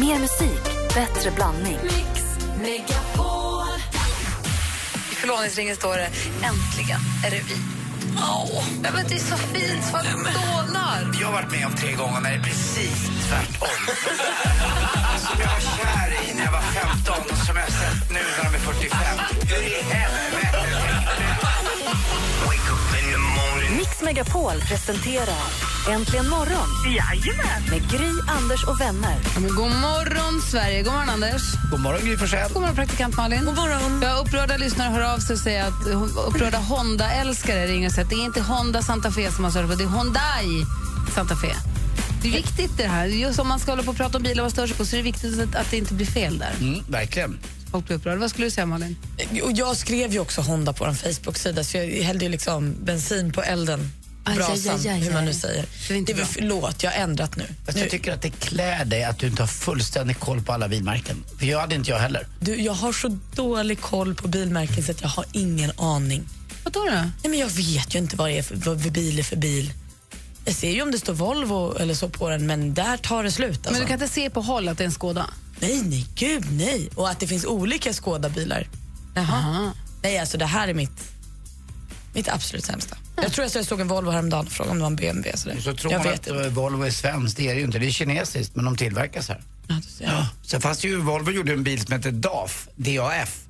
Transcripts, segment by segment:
Mer musik, bättre blandning. Mix Megapol. I förlovningsringen står det Äntligen är det vi. Åh, Nej, men det är så fint så man dånar. Jag har varit med om tre gånger när det är precis tvärtom. som jag var kär i när jag var 15 och som jag har sett nu när de är 45. Hur i helvete tänkte du? Wake up in the morning. Mix Megapol presenterar Äntligen morgon med Gry, Anders och vänner. Ja, men god morgon, Sverige. God morgon, Anders. God morgon, Gry Forssell. God morgon, praktikant Malin. God morgon. Jag har upprörda lyssnare hör av sig och säger att hon- upprörda Honda-älskare ringer och säger att det är inte Honda Santa Fe som man stör sig på, det är Hyundai Santa Fe. Det är viktigt det här. Just om man ska hålla på och prata om bilar och vad stör sig på så är det viktigt att, att det inte blir fel där. Mm, verkligen. Folk blir upprörda. Vad skulle du säga, Malin? Och jag skrev ju också Honda på vår Facebook-sida så jag hällde ju liksom bensin på elden. Aj, Brasan, aj, aj, aj, hur man nu aj. säger. Det är inte väl- bra. förlåt, jag har ändrat nu. Fast nu jag tycker att det klär dig att du inte har fullständig koll på alla bilmärken. För jag hade inte jag heller. du, jag har så dålig koll på bilmärken så att jag har ingen aning. Vadå då? Nej, men jag vet ju inte vad det är för, vad för bil är för bil. Jag ser ju om det står Volvo eller så på den, men där tar det slut. Alltså. Men du kan inte se på håll att det är en Skoda? Nej, nej, gud nej. Och att det finns olika Skoda-bilar. Jaha. Nej, alltså det här är mitt, mitt absolut sämsta. Jag tror att jag såg en Volvo häromdagen och frågade om det var en BMW. Så Så tror jag man vet att eh, Volvo är svenskt, det är det ju inte. Det är kinesiskt, men de tillverkas här. Ja. Sen fanns det ju, Volvo gjorde en bil som hette DAF, DAF.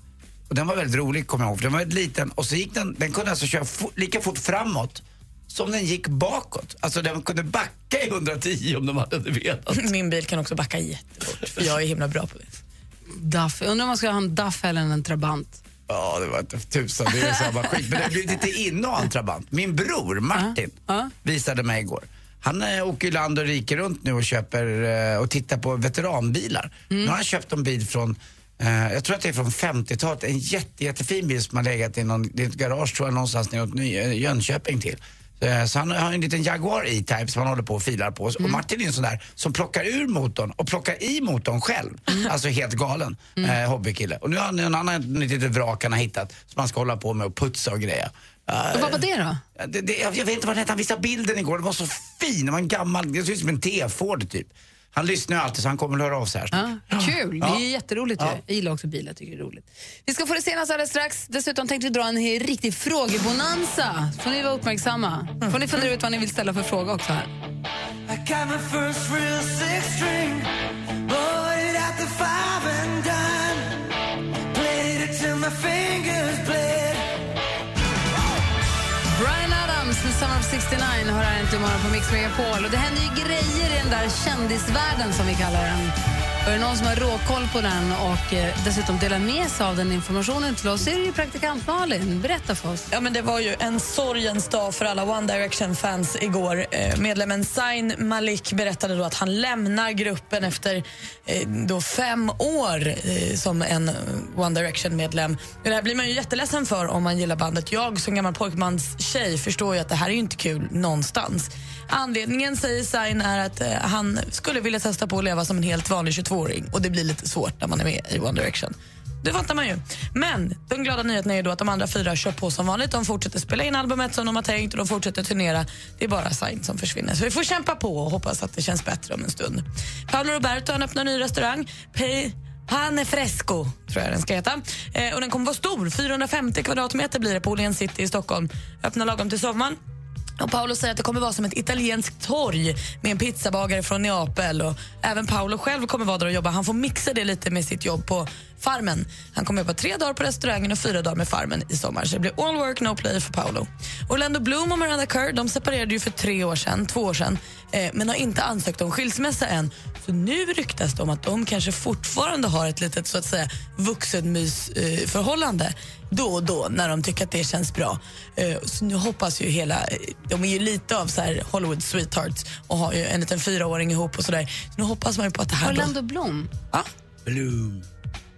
Och den var väldigt rolig, kommer jag ihåg. för Den var väldigt liten och så gick den, den kunde alltså köra fo- lika fort framåt som den gick bakåt. Alltså den kunde backa i 110 om de hade velat. Min bil kan också backa jättefort, för jag är himla bra på det. Duff. Jag undrar om man ska ha en Duff eller en Trabant. Ja, det var inte tusan, det är ju samma skit. Men det blir lite inne att ha en Trabant. Min bror Martin Ja. visade mig igår. Han eh, åker ju land och rike runt nu och köper eh, och tittar på veteranbilar. Mm. Nu har han köpt en bil från, eh, jag tror att det är från 50-talet, en jätte, jättefin bil som har legat i någon, det är ett garage tror jag någonstans neråt Ny- eh, Jönköping till. Eh, Så han har en liten Jaguar E-Type som han håller på och filar på. Och Martin är en sån där som plockar ur motorn och plockar i motorn själv. Alltså helt galen eh, hobbykille. Och nu har han en annan ett litet vrak han har hittat som han ska hålla på med och putsa och greja. Och vad var det då? Ja, Det, det, jag, jag vet inte vad den hette, han visade bilden igår. Den var så fin. Den var en gammal, det ser ut som en T-Ford typ. Han lyssnar ju alltid så han kommer att höra av sig här snart. Ja, kul, det är ju jätteroligt. ju. Ja. Jag gillar också bilar, jag tycker det är roligt. Vi ska få det senaste alldeles strax. Dessutom tänkte vi dra en he- riktig frågebonanza. Får ni vara uppmärksamma. Får ni fundera ut vad ni vill ställa för fråga också här. Brian Adams med Summer of 69 har här äntligen morgon på Mix Megapol. Och det händer ju grejer i den där kändisvärlden som vi kallar den. Och är det någon som har råkoll på den och eh, dessutom delar med sig av den informationen till oss så är det ju praktikant Malin. Berätta för oss. Ja, men det var ju en sorgens dag för alla One Direction-fans igår. Eh, Medlemmen Zayn Malik berättade då att han lämnar gruppen efter eh, då fem år eh, som en eh, One Direction-medlem. Det här blir man ju jätteledsen för om man gillar bandet. Jag som gammal pojkmanstjej förstår ju att det här är ju inte kul någonstans. Anledningen, säger Zayn, är att eh, han skulle vilja testa på att leva som en helt vanlig 22-åring och det blir lite svårt när man är med i One Direction. Det fattar man ju. Men de glada nyheterna är ju då att de andra fyra kör på som vanligt. De fortsätter spela in albumet som de har tänkt och de fortsätter turnera. Det är bara Saint som försvinner. Så vi får kämpa på och hoppas att det känns bättre om en stund. Paolo Roberto han öppnar en ny restaurang. Pe- Pane Fresco, tror jag den ska heta. Eh, och den kommer vara stor. 450 kvadratmeter blir det på Åhléns City i Stockholm. Öppnar lagom till sommaren. Och Paolo säger att det kommer vara som ett italienskt torg med en pizzabagare från Neapel. Och även Paolo själv kommer vara där och jobba. Han får mixa det lite med sitt jobb på Farmen. Han kommer jobba tre dagar på restaurangen och fyra dagar med Farmen i sommar. Så det blir all work, no play för Paolo. Orlando Bloom och Miranda Kerr de separerade ju för tre år sedan, två år sedan eh, men har inte ansökt om skilsmässa än. Så nu ryktas det om att de kanske fortfarande har ett litet så att säga vuxenmysförhållande eh, förhållande då och då när de tycker att det känns bra. Eh, så nu hoppas ju hela, eh, de är ju lite av så här Hollywood sweethearts och har ju en liten fyraåring ihop och sådär. Så nu hoppas man ju på att det här Orlando Blom. då... Ja. Bloom.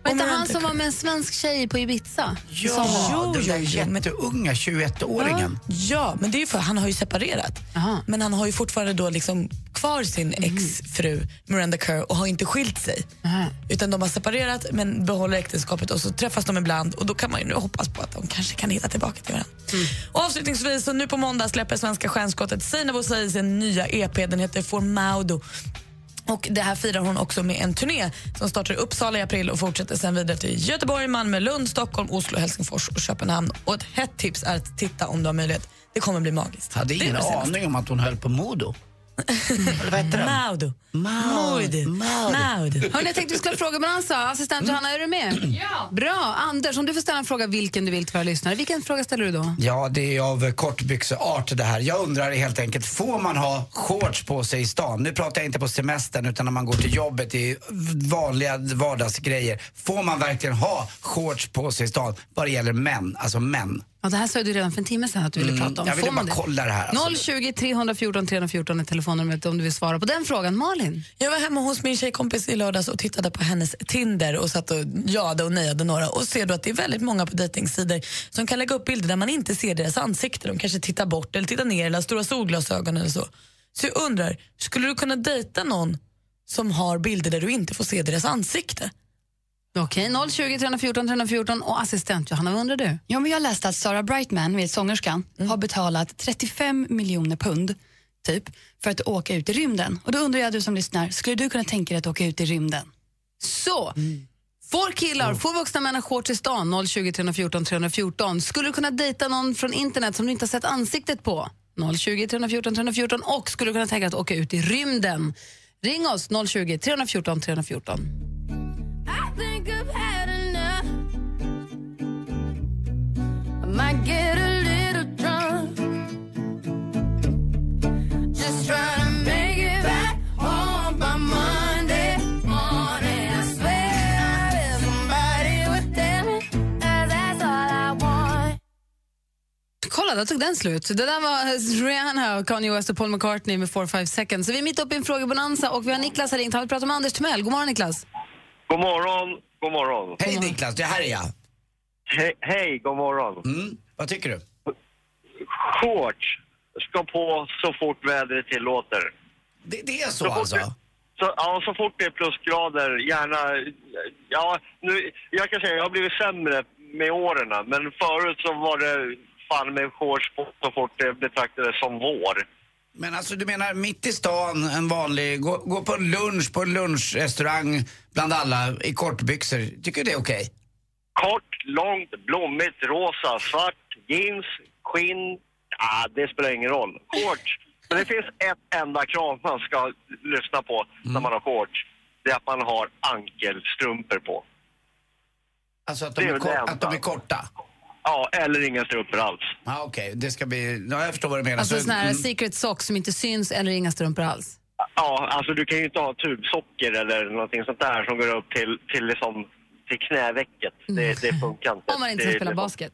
Var inte Om jag han inte som var kan- med en svensk tjej på Ibiza? Ja, Jo, den där jo, jo, men- jätteunga 21-åringen. Ja, men det är ju för han har ju separerat. Aha. Men han har ju fortfarande då liksom kvar sin exfru Miranda Kerr och har inte skilt sig. Aha. Utan de har separerat men behåller äktenskapet och så träffas de ibland och då kan man ju nu hoppas på att de kanske kan hitta tillbaka till varandra. Och avslutningsvis, så nu E på måndag släpper svenska stjärnskottet Seinabo Sai sin nya EP. Den heter Formaudo. Och Det här firar hon också med en turné som startar i Uppsala i april och fortsätter sen vidare till Göteborg, Malmö, Lund, Stockholm, Oslo, Helsingfors och Köpenhamn. Och Ett hett tips är att titta om du har möjlighet. Det kommer bli magiskt. Hade Det är ingen det senaste. aning om att hon höll på Modo. Eller vad heter den? Maudo. Maud. Maud. Maudo. Hörni, jag tänkte vi skulle fråga men alltså, Assistent Mm. Johanna, är du med? Ja. Bra. Anders, om du får ställa en fråga vilken du vill till våra lyssnare, vilken fråga ställer du då? Ja, det är av eh, kortbyxeart det här. Jag undrar helt enkelt, får man ha shorts på sig i stan? Nu pratar jag inte på semestern utan när man går till jobbet i vanliga vardagsgrejer. Får man verkligen ha shorts på sig i stan vad det gäller män? Alltså män. Ja, det här sa du redan för en timme sedan att du ville Mm, prata om. jag ville Får man bara kolla det här, alltså. 020 314 314 är telefonnumret om du vill svara på den frågan. Malin? Jag var hemma hos min tjejkompis i lördags och tittade på hennes Tinder och satt och jade och nejade några och ser då att det är väldigt många på dejtingsidor som kan lägga upp bilder där man inte ser deras ansikte. De kanske tittar bort eller tittar ner eller har stora solglasögon eller så. Så jag undrar, skulle du kunna dejta någon som har bilder där du inte får se deras ansikte? Okej, 020 314 314 och assistent Johanna, vad undrar du? Ja, men jag läste att Sarah Brightman, vet, sångerskan, Mm. har betalat 35 miljoner pund typ, för att åka ut i rymden. Och Då undrar jag, du som lyssnar, skulle du kunna tänka dig att åka ut i rymden? Så! Mm. Får killar, får vuxna män ha shorts i stan? 020 314 314. Skulle du kunna dejta någon från internet som du inte har sett ansiktet på? 020 314 314 och skulle du kunna tänka dig att åka ut i rymden? Ring oss 020 314 314. Kolla, där tog den slut. Det där var Rihanna, och Kanye West och Paul McCartney med 4-5 seconds. Så vi är mitt uppe i en frågebonanza och vi har Niklas här ringt. Han vill prata med Anders Timell. God morgon Niklas. God morgon, god morgon. Hej Niklas, det här är jag. He- hej, god morgon. Mm. Vad tycker du? Shorts ska på så fort vädret tillåter. Det, det är så Så fort alltså? det- Så, ja, så fort det är plusgrader, gärna... Ja, nu, jag kan säga jag har blivit sämre med åren, men förut så var det fan med shorts på så fort det betraktades som vår. Men alltså du menar mitt i stan, en vanlig, gå, gå på en lunch på en lunchrestaurang bland alla i kortbyxor. Tycker du det är okej? Kort, långt, blommigt, rosa, svart, jeans, skinn. Ah, det spelar ingen roll. Shorts. Men det finns ett enda krav man ska lyssna på när Mm. man har shorts. Det är att man har ankelstrumpor på. Alltså att de, Det är är, väl kor- det enda. att de är korta? Ja, eller inga strumpor alls. Ja, okej. Det ska bli... Ja, jag förstår vad du menar. Alltså Så- såna här mm. secret socks som inte syns eller inga strumpor alls. Ja, alltså du kan ju inte ha tubsocker eller någonting sånt där som går upp till, till, liksom, till knävecket. Det, det funkar inte. Mm. Om man inte Det- ska spela det- basket.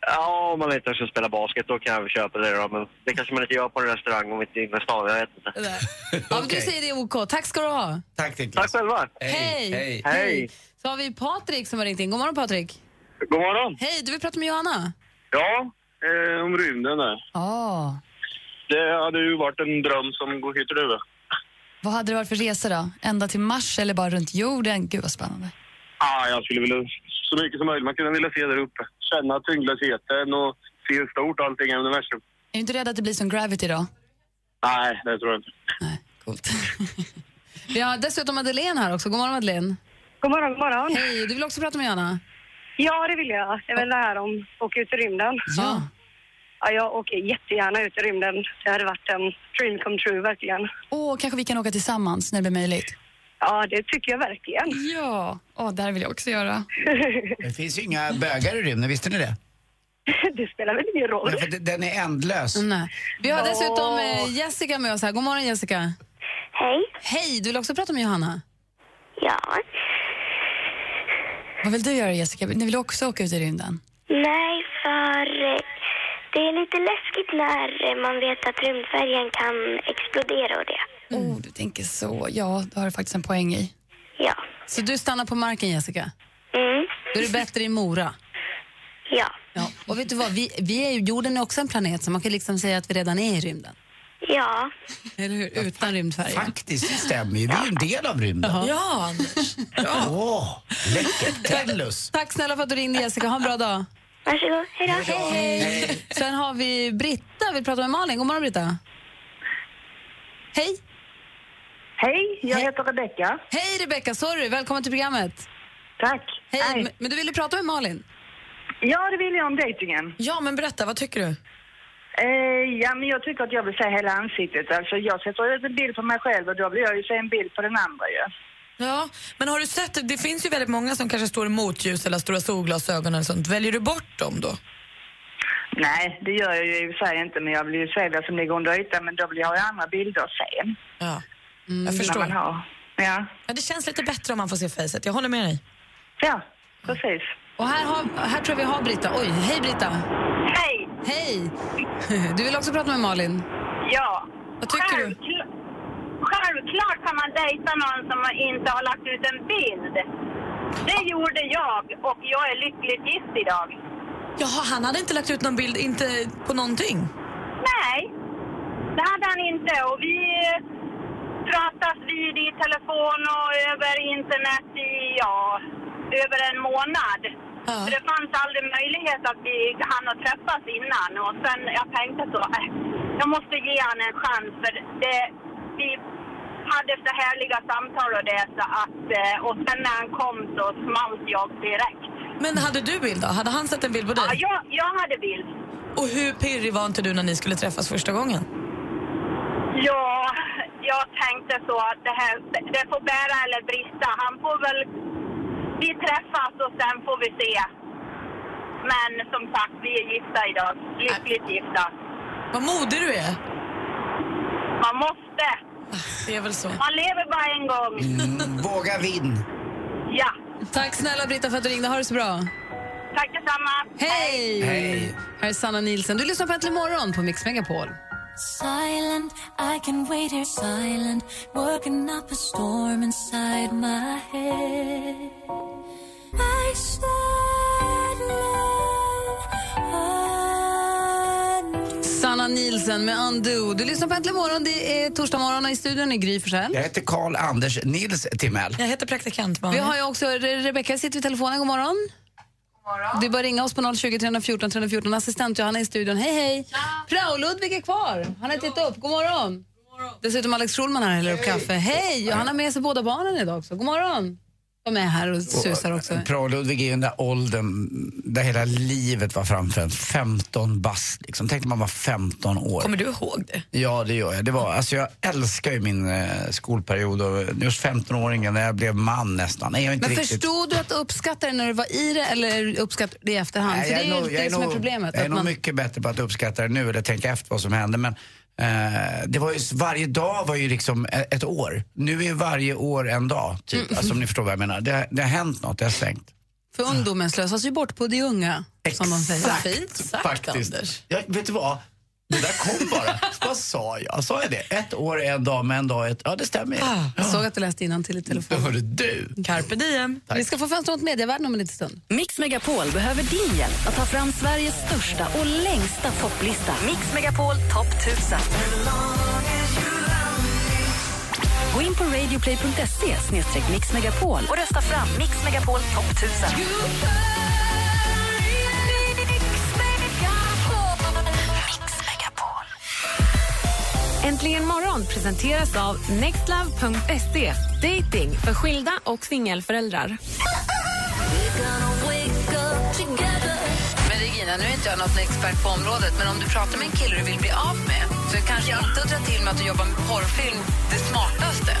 Ja, om man inte ska spela basket då kan jag väl köpa det då. Men det kanske man inte gör på en restaurang om inte inne i stan. Jag vet inte. Det där. Ja, men du Okej. säger det är OK. Tack ska du ha. Tack Tack Niklas. själva! Hej. Hej. Hej! Så har vi Patrik som har ringt in. God morgon Patrik. God morgon! Hej, du vill prata med Johanna? Ja, eh, om rymden där. Ja. Det hade ju varit en dröm som går hit över. Vad hade det varit för resa då? Ända till Mars eller bara runt jorden? Gud vad spännande. Ah, jag skulle vilja så mycket som möjligt man kunde vilja se där uppe. Känna tyngdlösheten och se hur stort allting är i universum. Är du inte rädd att det blir som Gravity då? Nej, det tror jag inte. Nej, coolt. Vi har dessutom Madeleine här också. God morgon Madeleine. God morgon, god morgon. Hej, du vill också prata med Johanna? Ja, det vill jag. Jag vill det här om att åka ut i rymden. Ja. Ja, jag åker jättegärna ut i rymden. Det hade varit en dream come true, verkligen. Åh, kanske vi kan åka tillsammans när det blir möjligt? Ja, det tycker jag verkligen. Ja, Åh, det här vill jag också göra. Det finns ju inga bögar i rymden, visste ni det? Det spelar väl ingen roll. Nej, för det- den är ändlös. Nej. Vi har dessutom eh, Jessica med oss här. God morgon Jessica. Hej. Hej, du vill också prata med Johanna? Ja. Vad vill du göra Jessica? Ni vill också åka ut i rymden? Nej, för eh, det är lite läskigt när eh, man vet att rymdfärjan kan explodera och det. Mm. Åh, Oh, du tänker så. Ja, då har du faktiskt en poäng i. Ja. Så du stannar på marken Jessica? Mm. Då är du bättre i Mora. Ja. Ja. Och vet du vad, vi, vi är ju, jorden är också en planet så man kan liksom säga att vi redan är i rymden. Ja. Eller hur? Utan rymdfärjan. Faktiskt, det stämmer ju. Vi är ju en del av rymden. Åh, Ja, Anders. läckert. Tellus. Tack snälla för att du ringde Jessica, ha en bra dag. Varsågod. Hej då. Hej. Sen har vi Britta, vill prata med Malin. God morgon Britta. Hej. Hej, jag heter Rebecka. Hej Rebecka, sorry, välkommen till programmet. Tack. Hej, Hej. m- men du ville prata med Malin? Ja, det vill jag om dejtingen. Ja, men berätta, vad tycker du? Eh, ja, men jag tycker att jag vill se hela ansiktet. Alltså, jag sätter ut en bild på mig själv och då vill jag ju se en bild på den andra ju. Ja, men har du sett, det finns ju väldigt många som kanske står i motljus eller har stora solglasögon eller sånt. Väljer du bort dem då? Nej, det gör jag ju i och för sig inte, men jag vill ju se vad som ligger under ytan. Men då vill jag ha andra bilder sen. Mm. Ja, jag När man förstår. har. Ja. Ja, det känns lite bättre om man får se facet, jag håller med dig. ja, precis. Och här, har, här tror jag vi har Britta. Oj, hej Britta. Hej! Hej! Du vill också prata med Malin? Ja. Vad tycker du? Självkl- Självklart kan man dejta någon som inte har lagt ut en bild. Det gjorde jag och jag är lyckligt gift idag. Jaha, han hade inte lagt ut någon bild, inte på någonting? Nej, det hade han inte och vi eh, pratas vid i telefon och över internet i, ja, över en månad. Ja. För det fanns aldrig möjlighet att vi hann att träffas innan och sen jag tänkte så, äh, jag måste ge han en chans för det, vi hade så härliga samtal och det så att, eh, och sen när han kom så smalt jag direkt. Men hade du bild då? Hade han sett en bild på Ja, dig? jag, jag hade bild. Och hur pirrig var inte du när ni skulle träffas första gången? Ja, jag tänkte så att det här det får bära eller brista. Han får väl... Vi träffas och sen får vi se. Men som sagt, vi är gifta idag. Lyckligt gifta. Vad modig du är! Man måste. Det är väl så. Man lever bara en gång. Mm, våga vinn. Ja. Tack snälla Britta för att du ringde. Ha det så bra. Tack detsamma. Hej! Hej. Här är Sanna Nielsen. Du lyssnar på Äntligen morgon på Mix Megapol. Silent, I can wait here silent Working up a storm inside my head I said love Sanna Nielsen med Undo. Du lyssnar på Äntligen morgon. Det är torsdag morgon och i studion är Gry Forssell. Jag heter Karl Anders Nils Timell. Jag heter praktikant Vi Malin. har ju också Re- Rebecka sitter vid telefonen. God morgon. Du är bara att ringa oss på 020 314 314. Assistent Johanna är i studion. Hej, hej. Prao-Ludvig är kvar. Han har tittat upp. God morgon. Dessutom Alex Schulman här häller upp kaffe. Hej! Och han har med sig båda barnen idag också. God morgon. De är här och susar eh, också. Prao-Ludvig är ju den där åldern där hela livet var framför en. 15 bast liksom. Tänk när man var 15 år. Kommer du ihåg det? Ja, det gör jag. Det var, alltså jag älskar ju min eh, skolperiod och just 15-åringen när jag blev man nästan. Nej, jag är inte Men riktigt... förstod du att uppskatta det när du var i det eller uppskatta det i efterhand? Nej, För det är nog- ju jag det som är nog- problemet. Jag är att nog man- mycket bättre på att uppskatta det nu eller tänka efter vad som hände. Men eh, det var ju, varje dag var ju liksom e- ett år. Nu är varje år en dag, typ. Mm. Alltså, om ni förstår vad jag menar. Det, det har hänt något, det har svängt. För ungdomen slösas ju bort på de unga, som de säger. Exakt, Fint sagt, Anders. Jag, vet du vad? Det där kom bara. vad sa jag? Sa jag det? Ett år är en dag, men en dag är ett... Ja, det stämmer ju. Jag såg att du läste innantill i telefon. Hörru du. Carpe diem. Vi ska få fönster mot medievärlden om en liten stund. Mix Megapol behöver din hjälp att ta fram Sveriges största och längsta topplista. Mix Megapol topp 1000. Gå in på radioplay.se snedstreck Mix Megapol och rösta fram Mix Megapol topp 1000. Äntligen morgon presenteras av nextlove.se. Dating för skilda och singelföräldrar. Men Regina, nu är inte jag någon expert på området men om du pratar med en kille du vill bli av med så är kanske inte att dra till med att du jobbar med porrfilm det smartaste.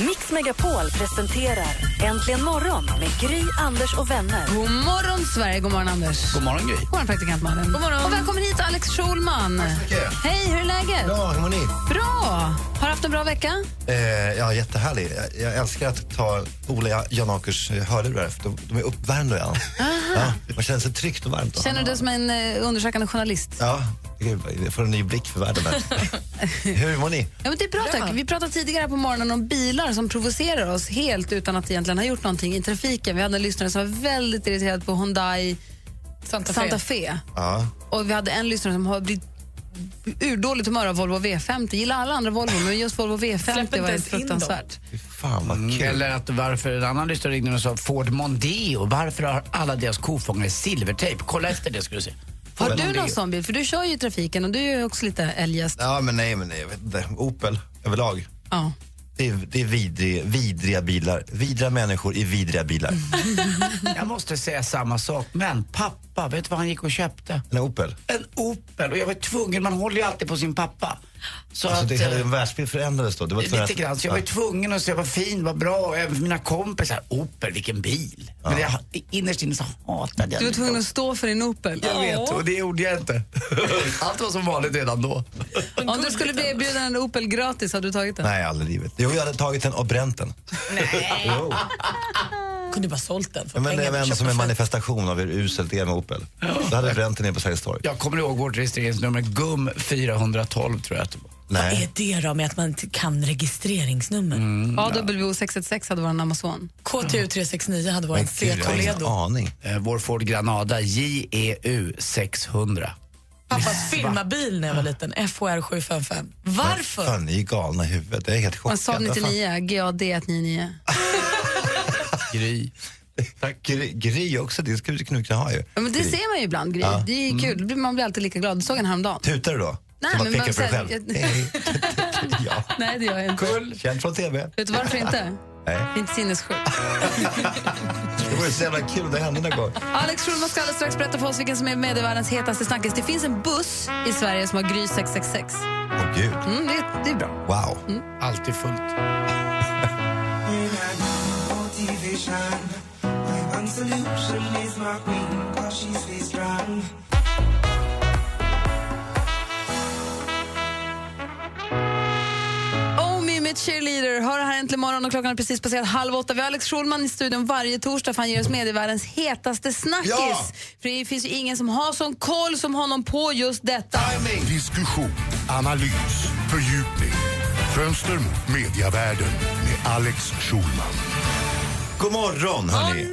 Mix Megapol presenterar Äntligen morgon med Gry, Anders och vänner. God morgon, Sverige. God morgon, Anders. God God morgon, Gry. morgon, praktikant Malin. God morgon. Och välkommen hit, Alex Schulman. mycket. Hej, hur är läget? Ja, hur mår ni? Bra! Har du haft en bra vecka? Eh, ja, jättehärlig. Jag, jag älskar att ta Ola Janakers eh, hörlurar, för de, de är uppvärmda igen. Ja, man känner sig tryggt och varmt. då. Känner du dig som en eh, undersökande journalist? Ja, gud, jag får en ny blick för världen. här. hur mår ni? Ja, men det är bra, tack. Vi pratade tidigare här på morgonen om bilar som provocerar oss helt utan att egentligen ha gjort någonting i trafiken. Vi hade en lyssnare som var väldigt irriterad på Hyundai Santa Fe. Santa Fe. Ja. Och vi hade en lyssnare som har blivit urdåligt humör av Volvo V50. Gillar alla andra Volvo, men just Volvo Släpp V50 inte var helt ens in dem. fruktansvärt. Fy Fan vad kul. Mm, Eller att varför, en annan lyssnare ringde och sa Ford Mondeo, varför har alla deras kofångare silvertejp? Kolla efter det ska du se. Har Men om du det- någon sån bil? För du kör ju i trafiken och du är ju också lite eljest. Ja, men nej, men nej, jag vet inte. Opel överlag. Ja. Det är, det är vidriga, vidriga bilar. Vidriga människor i vidriga bilar. Jag måste säga samma sak, men pappa, vet du vad han gick och köpte? En Opel. En Opel, och jag var tvungen, man håller ju alltid på sin pappa. Så alltså, det, att, hela eh, din världsbild förändrades då. Det var tvungen Lite att- grann, så jag var ju tvungen att säga vad fin, vad bra. Och även för mina kompisar, Opel, vilken bil. Men jag, innerst inne så hatade jag Du var den. tvungen att stå för din Opel. Jag vet, och det gjorde jag inte. Allt var som vanligt redan då. Om du skulle bli erbjuden en Opel gratis, hade du tagit den? Nej, aldrig i livet. Jo, jag hade tagit den och bränt den. Jo. Kunde bara sålt den. Ja, Men det var ändå som en manifestation av hur uselt det är med Opel. Då hade jag bränt den ner på Sergels torg. Jag kommer ihåg vårt registreringsnummer, GUM 412 tror jag att det var. Nej. Mm. Är det då med att man inte kan registreringsnummer? AWO 616 hade varit en Amazon. KTU 369 hade Men varit en gud, fet jag har ingen Toledo. aning. Eh, Vår Ford Granada E JEU 600. Pappas firmabil när jag var liten, FHR 755. Varför? Fan, ni är galna i huvudet. Jag är helt chockad. Man sa 99, GAD 199. Gry. Tack. Gry, gry också, det skulle du kunna kunna ha ju. Ja, men det Gry. ser man ju ibland, Gry. Ja. Det är ju kul. Man blir alltid lika glad. Du såg en häromdagen. Tutar du då? Nej, Som att men peka man på dig säger- själv? Hej, hej. ja. Nej, det gör jag inte. Kull, känd från TV. Vet du varför inte? Nej. Det är inte sinnessjukt. Det vore så jävla kul om det hände någon gång. Alex Schulman ska alldeles strax berätta för oss vilken som är medievärldens hetaste snackis. Det finns en buss i Sverige som har Gry 666. Åh gud, Mm, det, det är bra. wow. Alltid fullt. Oh Me med Cheerleader hör här äntligen morgon och klockan är precis passerat halv åtta. Vi har Alex Schulman i studion varje torsdag för han ger oss medievärldens hetaste snackis. Ja! För det finns ju ingen som har sån koll som honom på just detta. Diskussion, analys, fördjupning. Fönster mot mediavärlden med Alex Schulman. God morgon, hörni.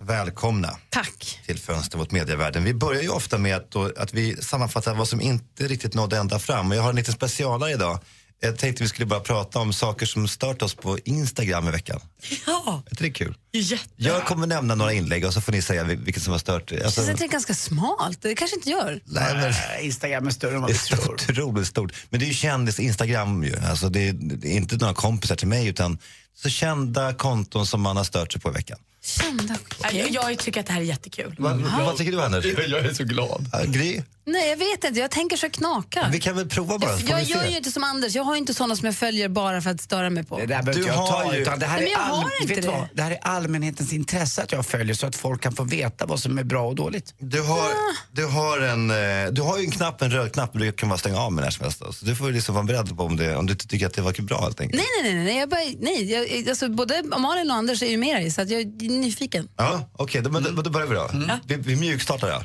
Välkomna Tack. till Fönster mot medievärlden. Vi börjar ju ofta med att, då, att vi sammanfattar vad som inte riktigt nådde ända fram. Och jag har en liten specialare idag. Jag tänkte vi skulle bara prata om saker som stört oss på Instagram i veckan. Ja, Är inte det kul? jätte. Jag kommer nämna några inlägg och så får ni säga vil- vilket som har stört er. Alltså, Känns inte det ganska smalt? Det kanske inte gör. nej, men, Eh, Instagram är större än vad det är vi så tror. otroligt stort. Men det är ju kändis-Instagram ju. Alltså, det, är, det är inte några kompisar till mig utan så kända konton som man har stört sig på i veckan. Kända. Jag, jag tycker att det här är jättekul. Vad, vad tycker du Anders? Jag är så glad. Ja, Gry, Nej, jag vet inte. Jag tänker så jag knakar. vi kan väl prova bara? Jag, så får jag vi se. gör ju inte som Anders. Jag har ju inte såna som jag följer bara för att störa mig på. Det där behöver Du inte jag har ta ju- utan det här, Nej, men jag är har inte vet du det. vad? det här är allmänhetens intresse att jag följer så att folk kan få veta vad som är bra och dåligt. Du har, Ah. du, har en, eh, du har ju en knapp, en röd knapp, men du kan bara stänga av med när som helst. då. Så du får ju liksom vara beredd på om, det, om du inte tycker att det verkar bra helt enkelt. Nej, nej, nej. nej. Jag bara, nej jag, alltså, både Malin och Anders är ju med dig, så att jag är nyfiken. Ja, okej, då, men då, då börjar vi då. Vi, vi mjukstartar ja.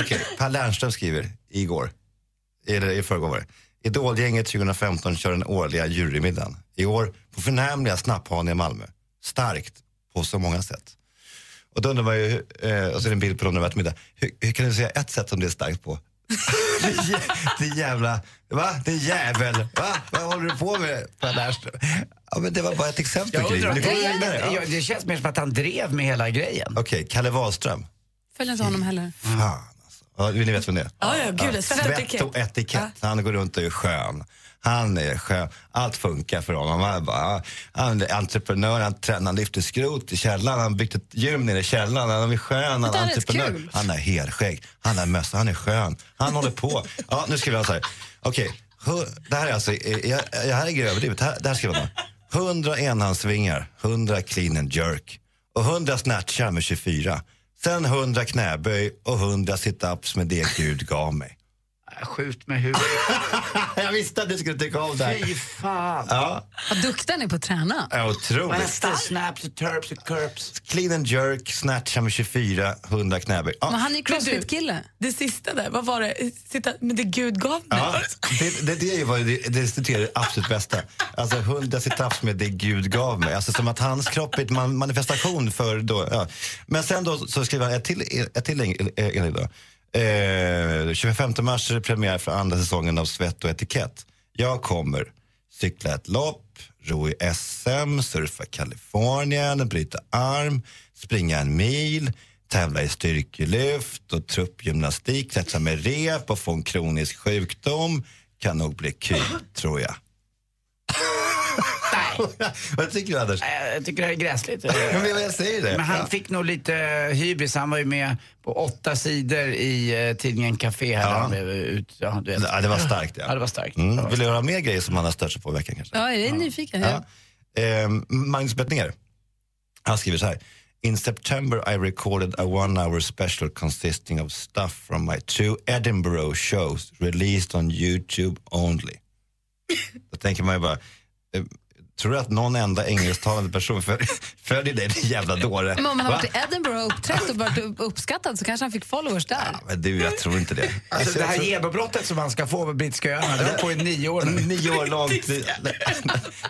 Okej, Per Lernström skriver igår, eller i förrgår var det. Idolgänget 2015 kör den årliga jurymiddagen. I år på förnämliga Snapphanen i Malmö. Starkt på så många sätt. Och då undrar man ju, eh, och så är det en bild på dem när de äter middag. Hur, hur kan du säga ett sätt som det är starkt på? Din jävla, va? Din jävel, va? Vad håller du på med Per Lernström? Ja men det var bara ett exempel. Jag Gry. undrar, Men det kommer det, vidare, ja. jag, det känns mer som att han drev med hela grejen. Okej, Kalle Wahlström. Följer inte honom heller. Fan alltså. Ja, ni vet vem det är? Ja, ja, gud, det är svett och etikett. och etikett. Han går runt och är skön. Han är skön. Allt funkar för honom. Han, är bara, han är entreprenör, han tränar, han lyfter skrot i källaren, han har byggt ett gym nere i källaren, han är skön, han Det är där är entreprenör. kul. Han har helskägg, han har mössa, han är skön, han håller på. Ja, nu skriver han så här. Okej, hu- det här är alltså, eh, jag, jag här är överdrivet. Det Här, det här skriver han. 100 enhandsvingar, 100 clean and jerk och 100 snatchar med 24. Sen 100 knäböj och 100 situps med det Gud gav mig. Skjut med huvudet. jag visste att du skulle tycka om det Fy fan. Ja, Vad duktiga ni är på att träna. otroligt. Hästar, snaps, och turps och curps. Clean and jerk, snatchar med 24, 100 knäböj. Ja. Men han är ju crossfit-kille. Det sista där, vad var det? Sitta, men det Gud gav mig. Ja, det, det, det är ju vad det, det resulterar i det absolut bästa. Alltså hundra situps med det Gud gav mig. Alltså som att hans kropp är en man, manifestation för då. Ja. Men sen då så skriver han ett till, ett till in- eh, inlägg då. Eh, 25 mars är det premiär för andra säsongen av Svett och etikett. Jag kommer cykla ett lopp, ro i SM, surfa Kalifornien, bryta arm, springa en mil, tävla i styrkelyft och truppgymnastik, klättra med rep och få en kronisk sjukdom kan nog bli kul, tror jag. Vad tycker du, Anders? Nej, Eh, Jag tycker det här är gräsligt. Men jag säger det. Men han Ja. fick nog lite eh, hybris. Han var ju med på åtta sidor i eh, tidningen Café. Här ja. blev ut, ja, du vet. Ja, det var starkt. Ja. Ja, det var starkt. Mm. Vill du höra mer grejer som han har stört sig på i veckan? Kanske? Ja, jag är nyfiken. Ja. Ehm, Magnus Bettner, han skriver så här. In September I recorded a one hour special consisting of stuff from my two Edinburgh shows released on YouTube only. Då tänker man ju bara, eh, tror du att någon enda engelsktalande person följer, följer dig, din jävla dåre? Men om han har Va? varit i Edinburgh och uppträtt och varit upp- uppskattad så kanske han fick followers där. Men du, jag tror inte det. Alltså, det här genombrottet som han ska få på Brittiska öarna, det har på i nio år nu. Nio år långt.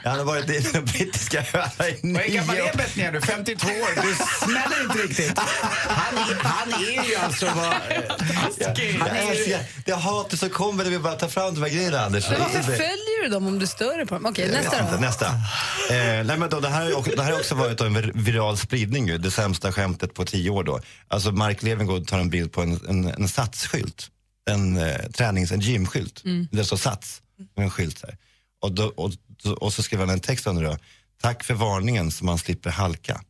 Han har varit i de brittiska öarna i nio Vad är gammal år. är Bettner nu? 52 år? Du smäller inte riktigt. Han, är- han är ju alltså vad... Jag älskar, det hatet som kommer när vi bara tar fram de här grejerna, Anders. Men varför Det- följer du dem om du stör dig på dem? Okej, Jag vet nästa inte. då. Nästa. Eh, nej, men då, det, här har ju också, det här har också varit en vir- viral spridning, ju, det sämsta skämtet på tio år. Då. Alltså Mark Levengood tar en bild på en, en, en satsskylt, en eh, tränings, en gymskylt. Mm. Där står sats, med en skylt. Här. Och, då, och, och så skriver han en text under då. Tack för varningen så man slipper halka.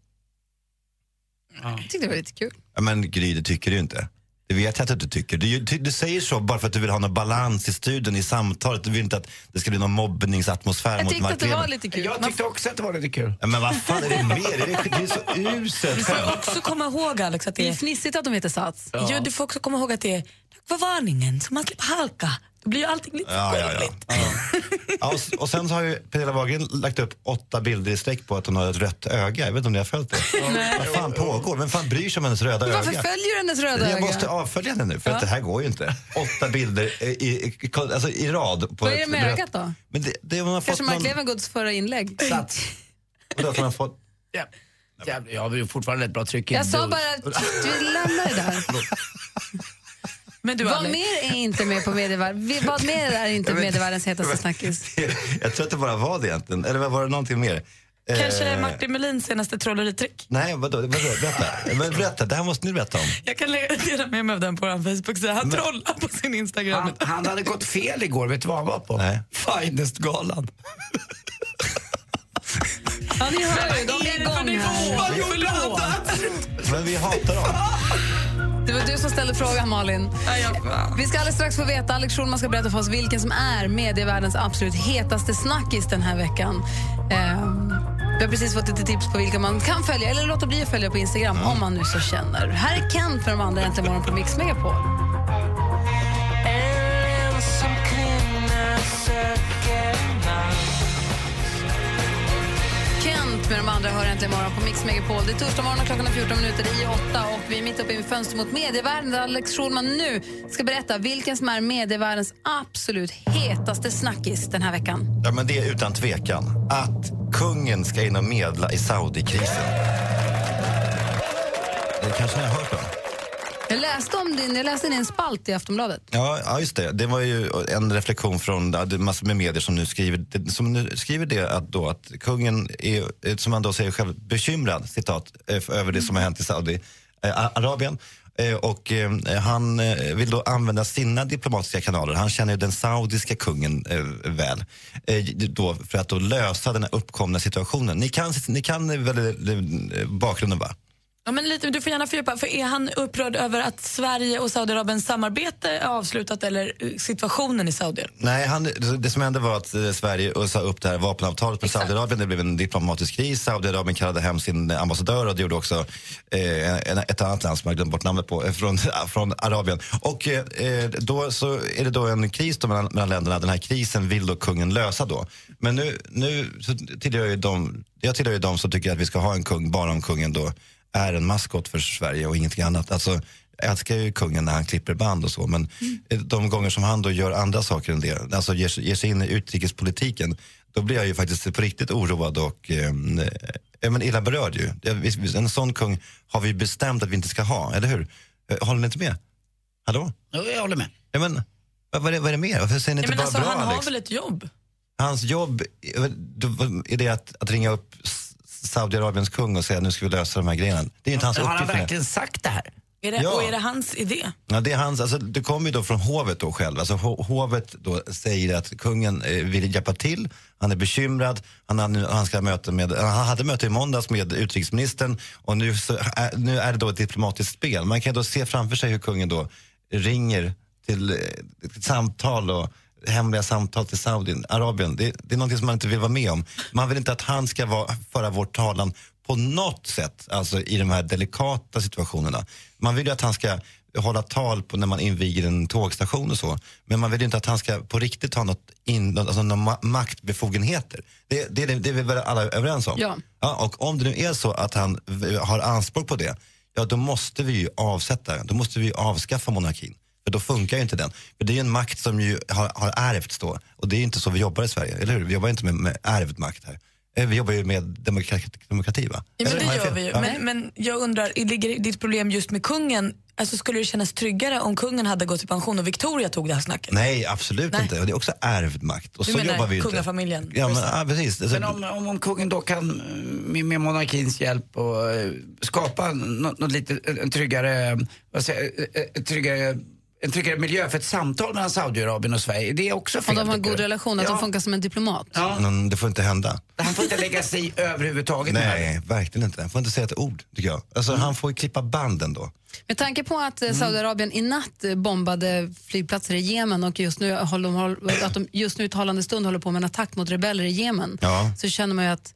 Jag tyckte det var lite kul. Ja, men Gry, det tycker du inte. Det vet jag att du inte tycker. Du, du, du säger så bara för att du vill ha någon balans i studion, i samtalet. Du vill inte att det ska bli någon mobbningsatmosfär Jag mot tyckte Mark att det var Levengood. lite kul. Jag tyckte också att det var lite kul. Ja, men vad fan är det med er? Det är, det är så Du uselt får skämt. också komma ihåg Alex att Det det är är... fnissigt att de heter Sats. Ja. du får också komma ihåg att det är tack för varningen så man slipper halka. Då blir ju allting lite Ja, ja, ja. Ja. Ja, och, s- och sen så har ju Pernilla Wahlgren lagt upp åtta bilder i sträck på att hon har ett rött öga. Jag vet inte om ni har följt det? Vad fan pågår? Vem fan bryr sig om hennes röda Men varför öga? följer du hennes röda Jag öga? måste avfölja henne nu, för Ja. att det här går ju inte. Åtta bilder i, i, i- alltså i rad. På Vad är det ett med rött- ögat då? Men det, det hon har fått Kanske Mark någon... Levengoods förra inlägg. Vadå, att hon har fått... Ja. Jävlar, Jag har ju fortfarande ett bra tryck i Jag sa dos. bara att vi lämnar det där. Men du, Vad Alex? mer är inte med på medievärlden? Vi- Vad mer är inte Jag vet- medievärldens hetaste snackis? Jag tror att det bara var det egentligen. Eller var det någonting mer? Kanske Eh, Martin Melins senaste trolleritrick. Nej, vadå? vadå berätta. Men berätta, det här måste ni berätta om. Jag kan lägga- dela med mig av den på vår Facebook-sida. Han trollar på sin Instagram. Han, han hade gått fel igår, vet du vad han var på? Nej. Finest-galan. Ja, ni hör ju, de är igång här. Men vi hatar dem. Det var du som ställde frågan, Malin. Vi ska alldeles strax få veta, Alex Schulman ska berätta för oss vilken som är medievärldens absolut hetaste snackis den här veckan. Ehm, vi har precis fått lite tips på vilka man kan följa, eller låta bli att följa på Instagram, om man nu så känner. Här är Kent för de andra Äntligen morgon på Mix Megapol. Kent med de andra hör äntligen morgon på Mix Megapol. Det är torsdag morgon och klockan är 14 minuter i åtta och vi är mitt uppe i Fönster mot medievärlden där Alex Schulman nu ska berätta vilken som är medievärldens absolut hetaste snackis den här veckan. Ja, men det är utan tvekan att kungen ska in och medla i Saudikrisen. Det kanske ni har hört om? Jag läste, om din, jag läste din spalt i Aftonbladet. Ja, ja, just det. Det var ju en reflektion från ja, det är massor med medier som nu skriver, som nu skriver det att, då, att kungen är, eh, som han då säger själv, bekymrad citat, eh, för- över det som har hänt i Saudiarabien. Och eh, han eh, vill då använda sina diplomatiska kanaler. Han känner ju den saudiska kungen eh, väl. Eh, Då, för att då lösa den här uppkomna situationen. Ni kan, ni kan eh, väl eh, bakgrunden va? Ja, men lite, du får gärna fördjupa. För är han upprörd över att Sverige och Saudiarabiens samarbete är avslutat eller eh, situationen i Saudiarabien? Nej, han, det som hände var att eh, Sverige sa upp det här vapenavtalet med Saudiarabien. Det blev en diplomatisk kris. Saudiarabien kallade hem sin ambassadör och det gjorde också eh, en, ett annat land som jag glömt bort namnet på, eh, från, från Arabien. Och eh, eh, då så är det då en kris då mellan, mellan länderna. Den här krisen vill då kungen lösa då. Men nu, nu så tillhör jag ju de, jag tillhör ju de som tycker att vi ska ha en kung bara om kungen då är en maskot för Sverige och ingenting annat. Alltså, jag älskar ju kungen när han klipper band och så, men eh, de gånger som han då gör andra saker än det, alltså ger, sig- ger sig in i utrikespolitiken, då blir jag ju faktiskt på riktigt oroad och eh, eh, men illa berörd ju. Ja, visst- visst, En sån kung har vi ju bestämt att vi inte ska ha, eller hur? Eh, Håller ni inte med? Hallå? Jo, jag håller med. Ja, men, vad, vad, är det, vad är det mer? Varför säger ni Ja, inte men bara alltså, bra, han Alex? har väl ett jobb? Hans jobb, eh, då- är det att, att ringa upp s- Saudiarabiens kung och säga nu ska vi lösa de här grejerna. Det är inte hans Har han uppgift. verkligen sagt det här? Är det, Ja. Och är det hans idé? Ja, det, är hans, alltså, det kommer ju då från hovet då själv. Alltså, ho- hovet då säger att kungen eh, vill hjälpa till, han är bekymrad, han, har nu- han, ska ha möte med, han hade möte i måndags med utrikesministern och nu, så, är- nu är det då ett diplomatiskt spel. Man kan då se framför sig hur kungen då ringer till eh, ett samtal och hemliga samtal till Saudien, Arabien. Det, det är någonting som man inte vill vara med om. Man vill inte att han ska vara, föra vår talan på något sätt, alltså i de här delikata situationerna. Man vill ju att han ska hålla tal på när man inviger en tågstation och så. Men man vill ju inte att han ska på riktigt ha något in, något- alltså några ma- maktbefogenheter. Det, det, är det, det är vi väl alla överens om? Ja. Ja, och om det nu är så att han v- har anspråk på det, ja då måste vi ju avsätta den. Då måste vi ju avskaffa monarkin. För då funkar ju inte den. För det är ju en makt som ju har, har ärvts då. Och det är ju inte så vi jobbar i Sverige, eller hur? Vi jobbar inte med, med ärvd makt här. Eh, Vi jobbar ju med demokrati, demokrati va? Ja, men Eller det har gör jag fel? vi ju. Ja. Men, men jag undrar, ligger ditt problem just med kungen? Alltså, skulle det kännas tryggare om kungen hade gått i pension och Victoria tog det här snacket? Nej, absolut Nej. inte. Och det är också ärvd makt. Och Du så menar jobbar vi ju inte. kungafamiljen? Ja, men, ja, precis. Alltså, Men om, om, om kungen då kan eh, med, med monarkins hjälp och eh, skapa något, något lite, en- en tryggare, eh, vad säger, jag, eh, eh, en tryggare en tryggare miljö för ett samtal mellan Saudiarabien och Sverige. Det är också Om fel. de har en tycker god du? relation, att ja, de funkar som en diplomat. men Mm, det får inte hända. Han får inte lägga sig i överhuvudtaget. Nej, verkligen inte. Han får inte säga ett ord, tycker jag. Alltså, Mm. Han får ju klippa banden då. Med tanke på att Mm. eh, Saudiarabien i natt eh, bombade flygplatser i Jemen och just nu, håller de, håll- att de just nu i talande stund håller på med en attack mot rebeller i Jemen Ja. så känner man ju att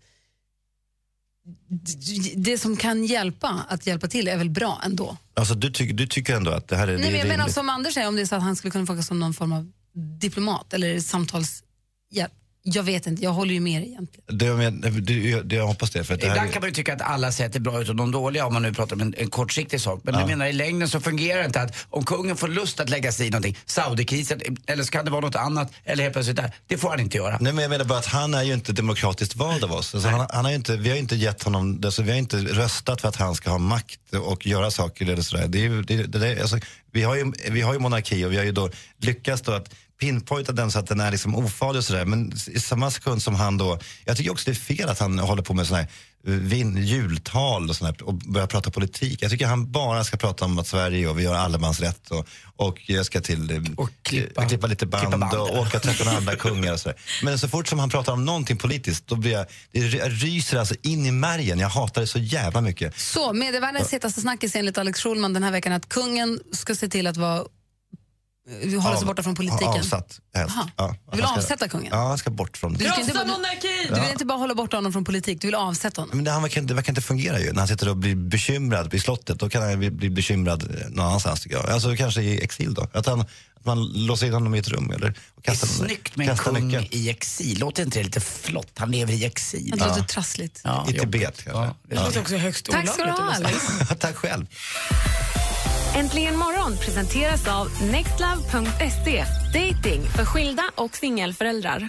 d- det som kan hjälpa att hjälpa till är väl bra ändå. Alltså, du, tycker- du tycker ändå att det här är, det Nej, är men jag menar alltså- rimligt. som Anders säger, om det är så att han skulle kunna funka som någon form av diplomat eller samtalshjälp. Jag vet inte, jag håller ju med dig egentligen. Det, jag, men- det, jag, det, jag hoppas det. För att det här Ibland är... kan man ju tycka att alla sätt är bra utom de dåliga om man nu pratar om en, en kortsiktig sak. Men jag menar i längden så fungerar det inte att om kungen får lust att lägga sig i någonting, Saudikrisen eller så kan det vara något annat eller helt plötsligt där, det får han inte göra. Nej, men jag menar bara att han är ju inte demokratiskt vald av oss. Alltså, han, han har ju inte, vi har ju inte gett honom, alltså, vi har inte röstat för att han ska ha makt och göra saker eller sådär. Det är, ju- det, det, det, alltså, vi, har ju, vi har ju monarki och vi har ju då lyckats då att pinpointa den så att den är liksom ofarlig och sådär. Men i samma sekund som han då, jag tycker också det är fel att han håller på med sådana här eh, vin, jultal och, sådär, och börjar prata politik. Jag tycker han bara ska prata om att Sverige och vi har allemansrätt och, och jag ska till eh, och klippa, klippa lite band, klippa band. och åka och träffa några andra kungar och sådär. Men så fort som han pratar om någonting politiskt då blir jag, det ry- ryser alltså in i märgen. Jag hatar det så jävla mycket. Så, medievärldens hetaste snackis enligt Alex Schulman den här veckan är att kungen ska se till att vara, eh, hålla sig Av- borta från politiken. Avsatt helst. Aha. Ja, Du vill han ska- avsätta kungen? Ja, han ska bort från Du, ska inte bara, du, du vill Ja. inte bara hålla bort honom från politik, du vill avsätta honom. Men det, han verkar, inte- det verkar inte fungera ju. När han sitter och blir bekymrad i slottet, då kan han bli, bli bekymrad eh, någon annanstans tycker jag. Alltså kanske i exil då. Att, han, att man låser in honom i ett rum eller och kastar det är snyggt med en kastar kung nyckeln. i exil. Låter inte det lite flott? Han lever i exil. Det låter trassligt. Ja, I Tibet kanske. Det låter också högst Tack ska du ha Alex. Tack själv. Äntligen morgon presenteras av nextlove.se. Dating för skilda och singelföräldrar.